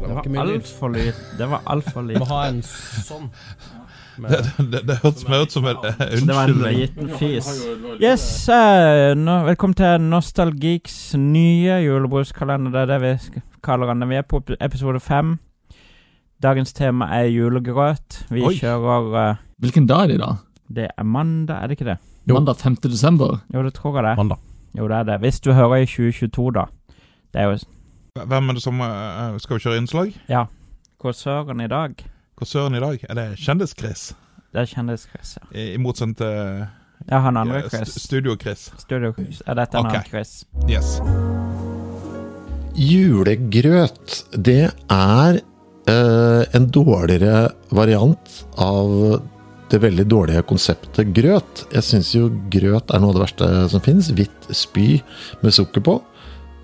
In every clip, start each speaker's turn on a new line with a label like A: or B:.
A: Det var
B: ikke mye lyd.
A: altfor lyd. Det var altfor
B: Må
A: lyd.
B: ha en sånn.
C: Det, det, det hørtes meg ut som en eh,
A: Det var en
C: unnskyldning.
A: liten fis. Yes, eh, nå, velkommen til Nostalgeeks nye julebruskalender. Det er det vi sk- kaller den. Vi er på ep- episode fem. Dagens tema er julegrøt. Vi
C: Oi.
A: kjører eh,
D: Hvilken dag er det i dag?
A: Det er mandag, er det ikke det?
C: Jo.
D: Mandag 5. desember?
A: Jo, det tror jeg det. er.
C: Mandag.
A: Jo, det er det. Hvis du hører i 2022, da. Det er jo s-
C: Hvem er det som eh, skal vi kjøre innslag?
A: Korsøren i dag.
C: Hvor søren i dag? Er det Kjendis-Chris?
A: Det er kjendis-Chris. ja.
C: I, i motsetning til
A: Ja, han andre
C: eh, st-
A: Chris.
C: Studio-Chris.
A: Studio-Chris. Er dette en
C: Ok.
A: annen Chris?
C: Yes.
E: Julegrøt, det er eh, en dårligere variant av det veldig dårlige konseptet grøt. Jeg syns jo grøt er noe av det verste som fins. Hvitt spy med sukker på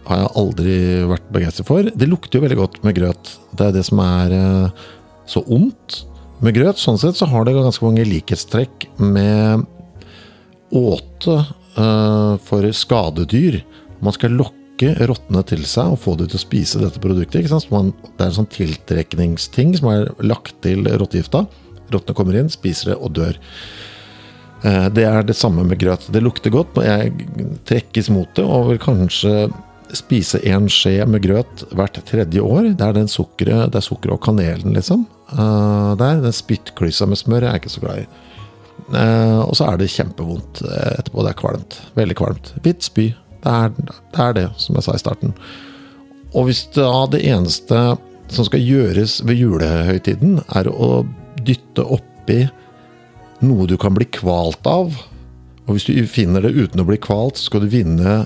E: har jeg aldri vært begeistret for. Det lukter jo veldig godt med grøt. Det er det som er eh, så ondt med grøt. Sånn sett så har det ganske mange likhetstrekk med åte eh, for skadedyr. Man skal lokke rottene til seg og få dem til å spise dette produktet. Ikke sant? Så man, det er en sånn tiltrekningsting som er lagt til rottegifta. Rottene kommer inn, spiser det og dør. Eh, Det er det samme med grøt. Det lukter godt, og jeg trekkes mot det og vil kanskje spise en skje med grøt hvert tredje år. Det er den sukkeret, det er sukkeret og kanelen, liksom. Eh, Der, den spyttklysa med smør er jeg ikke så glad i. Eh, og så er det kjempevondt eh, etterpå. Det er kvalmt. Veldig kvalmt. Hvitt spy. Det er, det er det, som jeg sa i starten. Og hvis da det eneste som skal gjøres ved julehøytiden, er å dytte oppi noe du kan bli kvalt av Og hvis du finner det uten å bli kvalt, så skal du vinne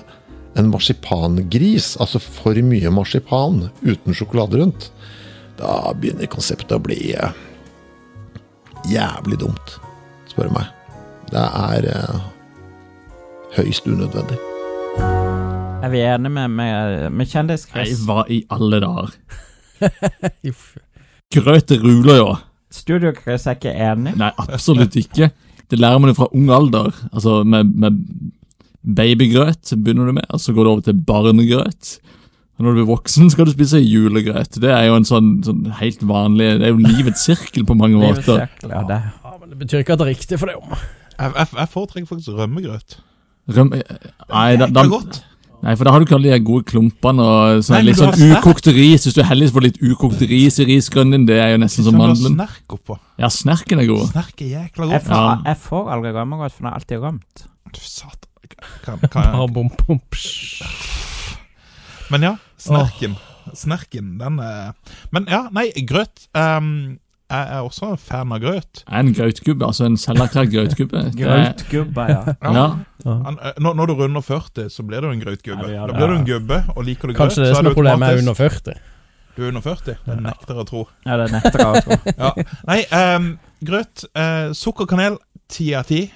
E: en marsipangris. Altså for mye marsipan uten sjokolade rundt. Da begynner konseptet å bli eh, jævlig dumt spør du meg. Det er eh, høyst unødvendig.
A: Er vi enige med, med, med
D: Nei,
A: kjendis-Chris?
D: hva i alle dager?
B: Uff.
D: Grøt det ruler jo!
A: Studio-Chris er ikke enig.
D: Nei, absolutt ikke. Det lærer man jo fra ung alder. Altså, med, med babygrøt begynner du med, og så går du over til barnegrøt. Og når du blir voksen, skal du spise julegrøt. Det er jo en sånn, sånn helt vanlig Det er jo livets sirkel på mange
A: Livets
D: måter.
A: sirkel, ja, det.
B: Ja, men det betyr ikke at det er riktig for det. jo.
C: Jeg, jeg, jeg foretrekker faktisk rømmegrøt.
D: Røm, nei, da, da,
C: Jækla godt.
D: nei, for da har du ikke alle de gode klumpene og sånn,
C: Nei, men
D: litt
C: du har
D: sånn
C: snert.
D: ukokt ris. Hvis du er heldig, så får du litt ukokt ris i risgrønnen din. Det er jo nesten som
C: Som du har
D: mandelen.
C: snerk oppå.
D: Ja, snerken er god.
C: Snerk er jækla
A: Jeg får,
C: godt.
D: Ja.
A: jeg får aldri rømmegodt, for den er alltid rømt.
C: Satan. Kan, kan
B: Bare
C: jeg?
B: bom, bom, psj.
C: Men ja, snerken. Snerken, den er Men ja, nei, grøt ehm, Jeg er også en fan av grøt.
D: Er en grøtgubbe, altså en selverklært grøtgubbe. Det er-
A: Grøtgubba, ja.
D: Ja.
C: Han, eh, når, når du runder 40, så blir du en grøtgubbe.
A: Ja, det gjør
C: da
A: det.
C: blir du en gubbe, og liker du grøt,
B: Kanskje
C: så
B: det som
C: er
B: er
C: du
B: problemet er
C: automatisk
B: under 40.
C: Du er under 40. Det nekter jeg å tro.
A: ja det altså. nekter jeg å tro.
C: Ja. Nei, ehm, grøt, eh, sukker og kanel, ti av ti.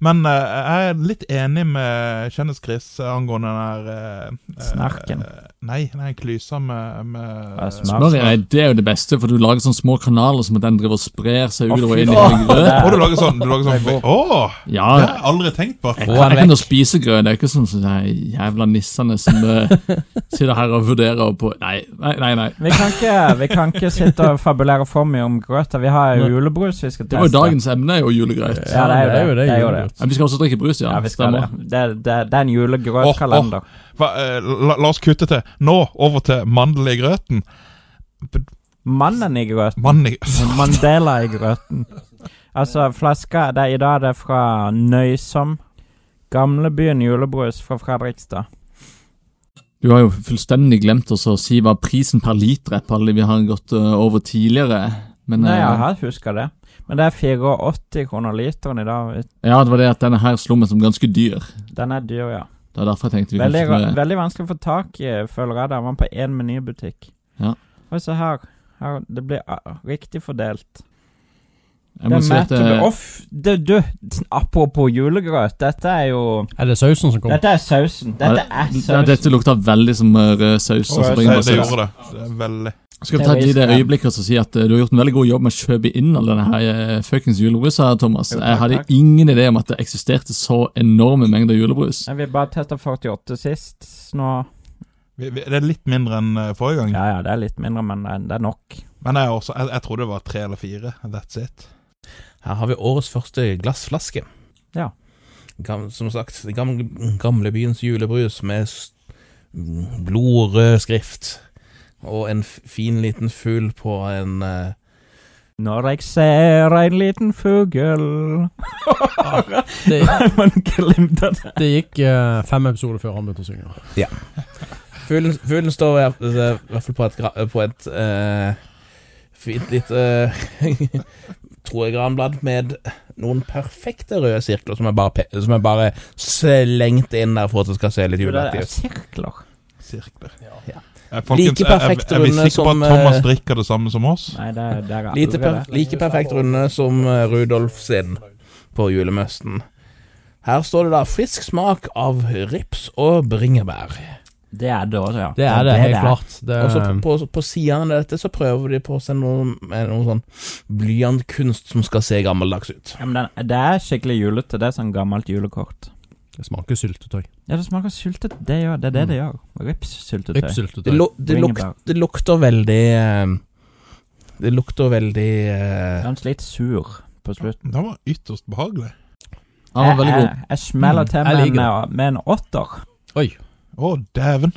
C: Men eh, jeg er litt enig med Kjendis-Chris angående den der eh,
A: Snerken.
C: eh, nei, nei, klysa med, med
A: Ja, smør.
D: Smør, ja, det er jo det beste, for du lager sånne små kanaler som at den driver og sprer seg
A: Å,
D: utover
A: fy
D: inn i
A: faen.
D: grøt.
C: Og du lager sånn du lager sånn,
A: Det er
C: Å!
D: Ja,
C: det har
D: jeg
C: jeg aldri tenkt på.
B: Få
D: kan,
B: han
D: jeg kan jo
B: vekk.
D: spise grøt. Det er ikke sånn som de jævla nissene som eh, sitter her og vurderer på Nei, nei, nei. nei.
A: Vi kan, ikke, vi kan ikke sitte og fabulere for mye om grøt. da. Vi har jo
D: Nei.
A: julebrus vi skal teste.
D: Det var jo dagens emne, jo julegrøt.
B: Eh,
A: Ja, det er jo det. Det er jo det.
B: julegrøt.
D: Men vi skal også drikke brus, ja.
A: Ja, vi skal det.
D: Stemmer.
A: Det, det, det er en julegrøtkalender.
C: Hva, eh, la, la oss kutte til. Nå over til mandel i grøten.
A: Mannen i grøten.
C: Mann i
A: Mandela i grøten. Altså, flaska det, er- I dag er det fra Nøysom. Gamlebyen julebrus fra Fredrikstad.
D: Du har jo fullstendig glemt oss å si hva prisen per liter er på alle vi har gått eh, over tidligere. Men
A: Nei,
D: eh,
A: jeg har- husker det. Men det er 480 kroner literen i dag.
D: ja, det var det at denne her slo meg som ganske dyr.
A: Den er dyr, ja.
D: Det er derfor jeg tenkte vi
A: Veldig,
D: kanskje
A: ra-
D: skulle
A: veldig vanskelig å få tak i, eh, føler jeg. Der var på én menybutikk.
D: Ja.
A: Og se her. her. Det blir ah, riktig fordelt.
D: Jeg må
A: det er
D: si at
A: Matthew-
D: eh,
A: Off, det, du, apropos julegrøt. Dette er jo
B: Er det sausen som kommer?
A: Dette er sausen. Dette er
D: Ja,
A: sausen.
D: dette lukta veldig som eh, rød saus.
A: Rød
D: altså,
C: Det,
D: bringebærsaus.
A: saus.
C: det gjorde det. det er veldig
D: Skal vi ta et
A: Det er
D: lite
A: risk, ja.
D: øyeblikk og så si at eh, du har gjort en veldig god jobb med å kjøpe inn all denne her eh, fuckings julebrusa, Thomas.
A: Jo, takk,
D: Jeg hadde
A: takk.
D: ingen idé om at det eksisterte så enorme mengder julebrus.
A: Nei, Vi bare testa 48 sist. Nå
C: Vi- vi- Det er litt mindre enn eh, forrige gang.
A: Ja, ja, det er litt mindre, men eh, det er- det er nok.
C: Men jeg, også, jeg, jeg trodde det var tre eller fire. That's it.
F: Her har vi årets første glassflaske.
A: Ja.
F: Gam, som sagt, den gamle, gamle byens julebrus med s- mm, blodrød skrift. Og en f- fin liten fugl på en eh,
A: Når jeg ser en liten fugl
B: Det,
A: Man glimter det.
B: det gikk eh, fem episoder før han begynte å synge.
F: Fuglen, fuglen står i hvert- eh, i hvert fall på et, gra- på et eh, fint lite uh, troegranblad med noen perfekte røde sirkler som er bare, pe- som er bare slengt inn der for at det skal se litt
A: Det
F: juleaktig
A: er
F: ut.
A: sirkler.
C: Sirkler.
F: Ja.
C: Eh, Folkens,
F: Like
C: jeg- jeg-
F: perfekt
C: Jeg visste
F: runde
C: ikke på
F: som,
C: at Thomas
F: eh,
C: drikker det samme som oss.
A: Nei, det er, det er
F: Lite
A: aldri
F: per,
A: det.
F: like perfekt runde som eh, Rudolf sin på julemøsten. Her står det da 'frisk smak av rips og bringebær'.
A: Det er det også, ja.
B: Det er det, helt
A: er.
B: klart. Det, eh,
F: Og så
A: Eh.
F: på, på, på sidene av dette så prøver de på seg noe, med noe sånn blyantkunst som skal se gammeldags ut.
A: Ja, men den, det er skikkelig julete. Det er sånn gammelt julekort.
B: det smaker syltetøy.
A: Ja, det smaker syltet. Det, gjør, det er det det gjør. Rips-syltetøy.
F: Det,
B: Ripsyltetøy.
F: lu- det, luk,
A: Bringebær.
F: det lukter veldig eh, Det lukter veldig eh,
A: Den er litt sur på slutten.
C: Den var ytterst behagelig.
D: Han var
A: jeg,
D: Ah, veldig god.
A: jeg, jeg smeller til med,
B: Jeg liker
A: en, med en åtter.
C: Å, dæven.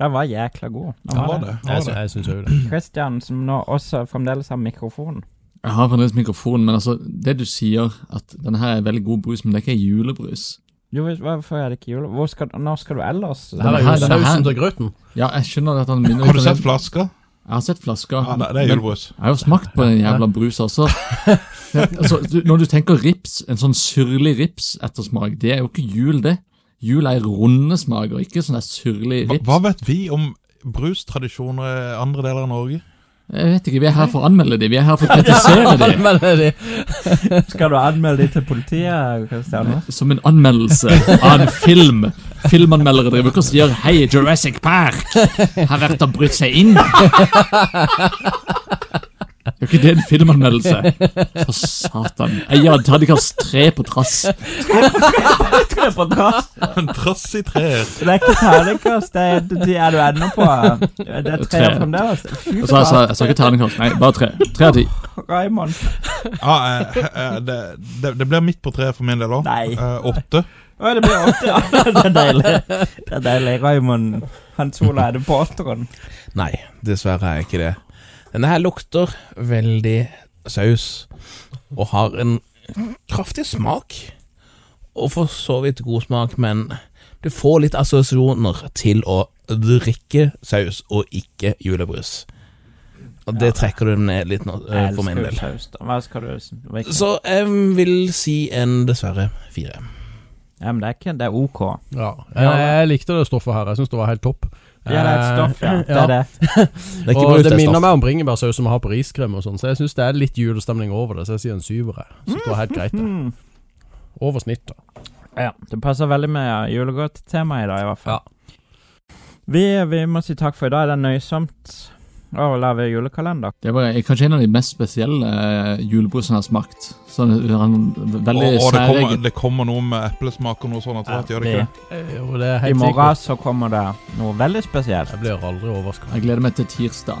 A: Den var jækla god. Den
C: Den
A: var
C: var
A: det.
C: det. Den
B: Jeg,
C: var
B: sy-
C: det.
B: jeg syns jo det.
A: Christian, som nå også fremdeles har mikrofon.
D: Jeg har fremdeles mikrofon, men altså, det du sier, at denne her er veldig god brus, men det er ikke julebrus.
A: Jo, hvis- hvorfor er det ikke jule... Hvor skal, når skal du ellers?
D: Nei.
B: Her er jo
D: her- denne her-
B: sausen til grøten.
D: Ja, jeg skjønner at han minner
C: Har du
D: om
C: sett
D: det.
C: flasker?
D: Jeg har sett flasker.
C: Ja, det, det er
D: men
C: julebrus.
D: Jeg har jo smakt på den jævla brusa også. Ja, altså, du, når du tenker rips, en sånn syrlig ripsettersmak, det er jo ikke jul, det. Jul er runde smaker, ikke sånn der syrlig
C: Hva,
D: rips.
C: hva vet vi om brustradisjoner i andre deler av Norge?
D: Jeg vet ikke, vi er her for å anmelde de, vi er her for å kritisere de.
B: Men det er det.
A: Skal du anmelde de til politiet, Christian?
D: Som en anmeldelse av en film. Filmanmeldere driver ikke og sier 'Hei, Jurassic Park! Her har de brutt seg inn'. Det er jo ikke det en filmanmeldelse. For satan. Jeg gir Tadikars tre på trass.
A: Det er på trass.
C: En trass i treer.
A: Det er ikke terningkast, det er de er du ennå på. Det er tre
D: Tre.
A: fremdeles. Fy
D: Og så jeg sa jeg sa ikke terningkast, nei, bare tre. Tre av ti.
A: faen, Raymond.
C: Ja, eh, eh, det, det, det blir midt på treet for min del òg.
A: Nei.
C: åtte.
A: Å, det blir åtte, ja. Det er deilig. Det er deilig. Raymond Hans Ola er det på åtteren.
F: Nei, dessverre er jeg ikke det. Denne her lukter veldig saus og har en kraftig smak. Og for så vidt god smak, men du får litt assosiasjoner til å drikke saus og ikke julebrus. Og det trekker du ned litt nå, eh,
A: Jeg
F: for min
A: elsker
F: del.
A: saus, da. Hva skal du hvilken-
F: Så jeg vil si en dessverre fire.
A: Ja, men det er ikke Det er OK.
B: Ja. Jeg, jeg likte det stoffet her. Jeg syns det var helt topp. Eh,
A: Ja, det er et stoff, ja. Det
B: Ja.
A: er det.
F: Det er ikke
B: Og
F: brus,
B: det
F: det er
B: minner
F: stoff.
B: meg om bringebærsaus som vi har på riskrem og sånn, så jeg syns det er litt julestemning over det, så jeg sier en syver. jeg. Så det var helt greit, det.
A: Mm.
B: Over snittet.
A: Ja, det passer veldig med julegodttemaet i dag, i hvert fall. Vi, vi må si takk for i dag. Det er nøysomt å lage julekalender.
D: Det var eh, kanskje en av de mest spesielle eh, julebrusene jeg har smakt. Sånn, eh, han-
C: Og,
D: veldig
C: og det, kommer,
D: særegen.
C: det kommer noe med eplesmak og noe sånt etter hvert, gjør det
A: Vi-
C: ikke?
B: Eh, Jo, det er
A: Mm. I
B: helt
A: morgen
B: sikkert.
A: så kommer det noe veldig spesielt.
B: Jeg blir aldri overraska.
D: Jeg gleder meg til tirsdag.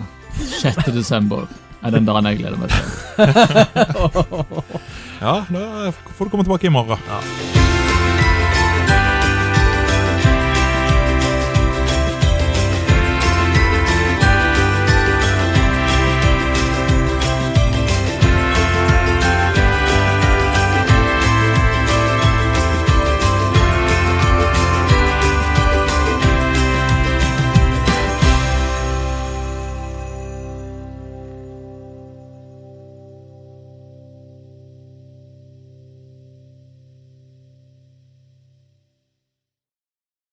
D: 6. desember er den dagen jeg gleder meg til.
C: Ja, da får du komme tilbake i morgen.
B: ja.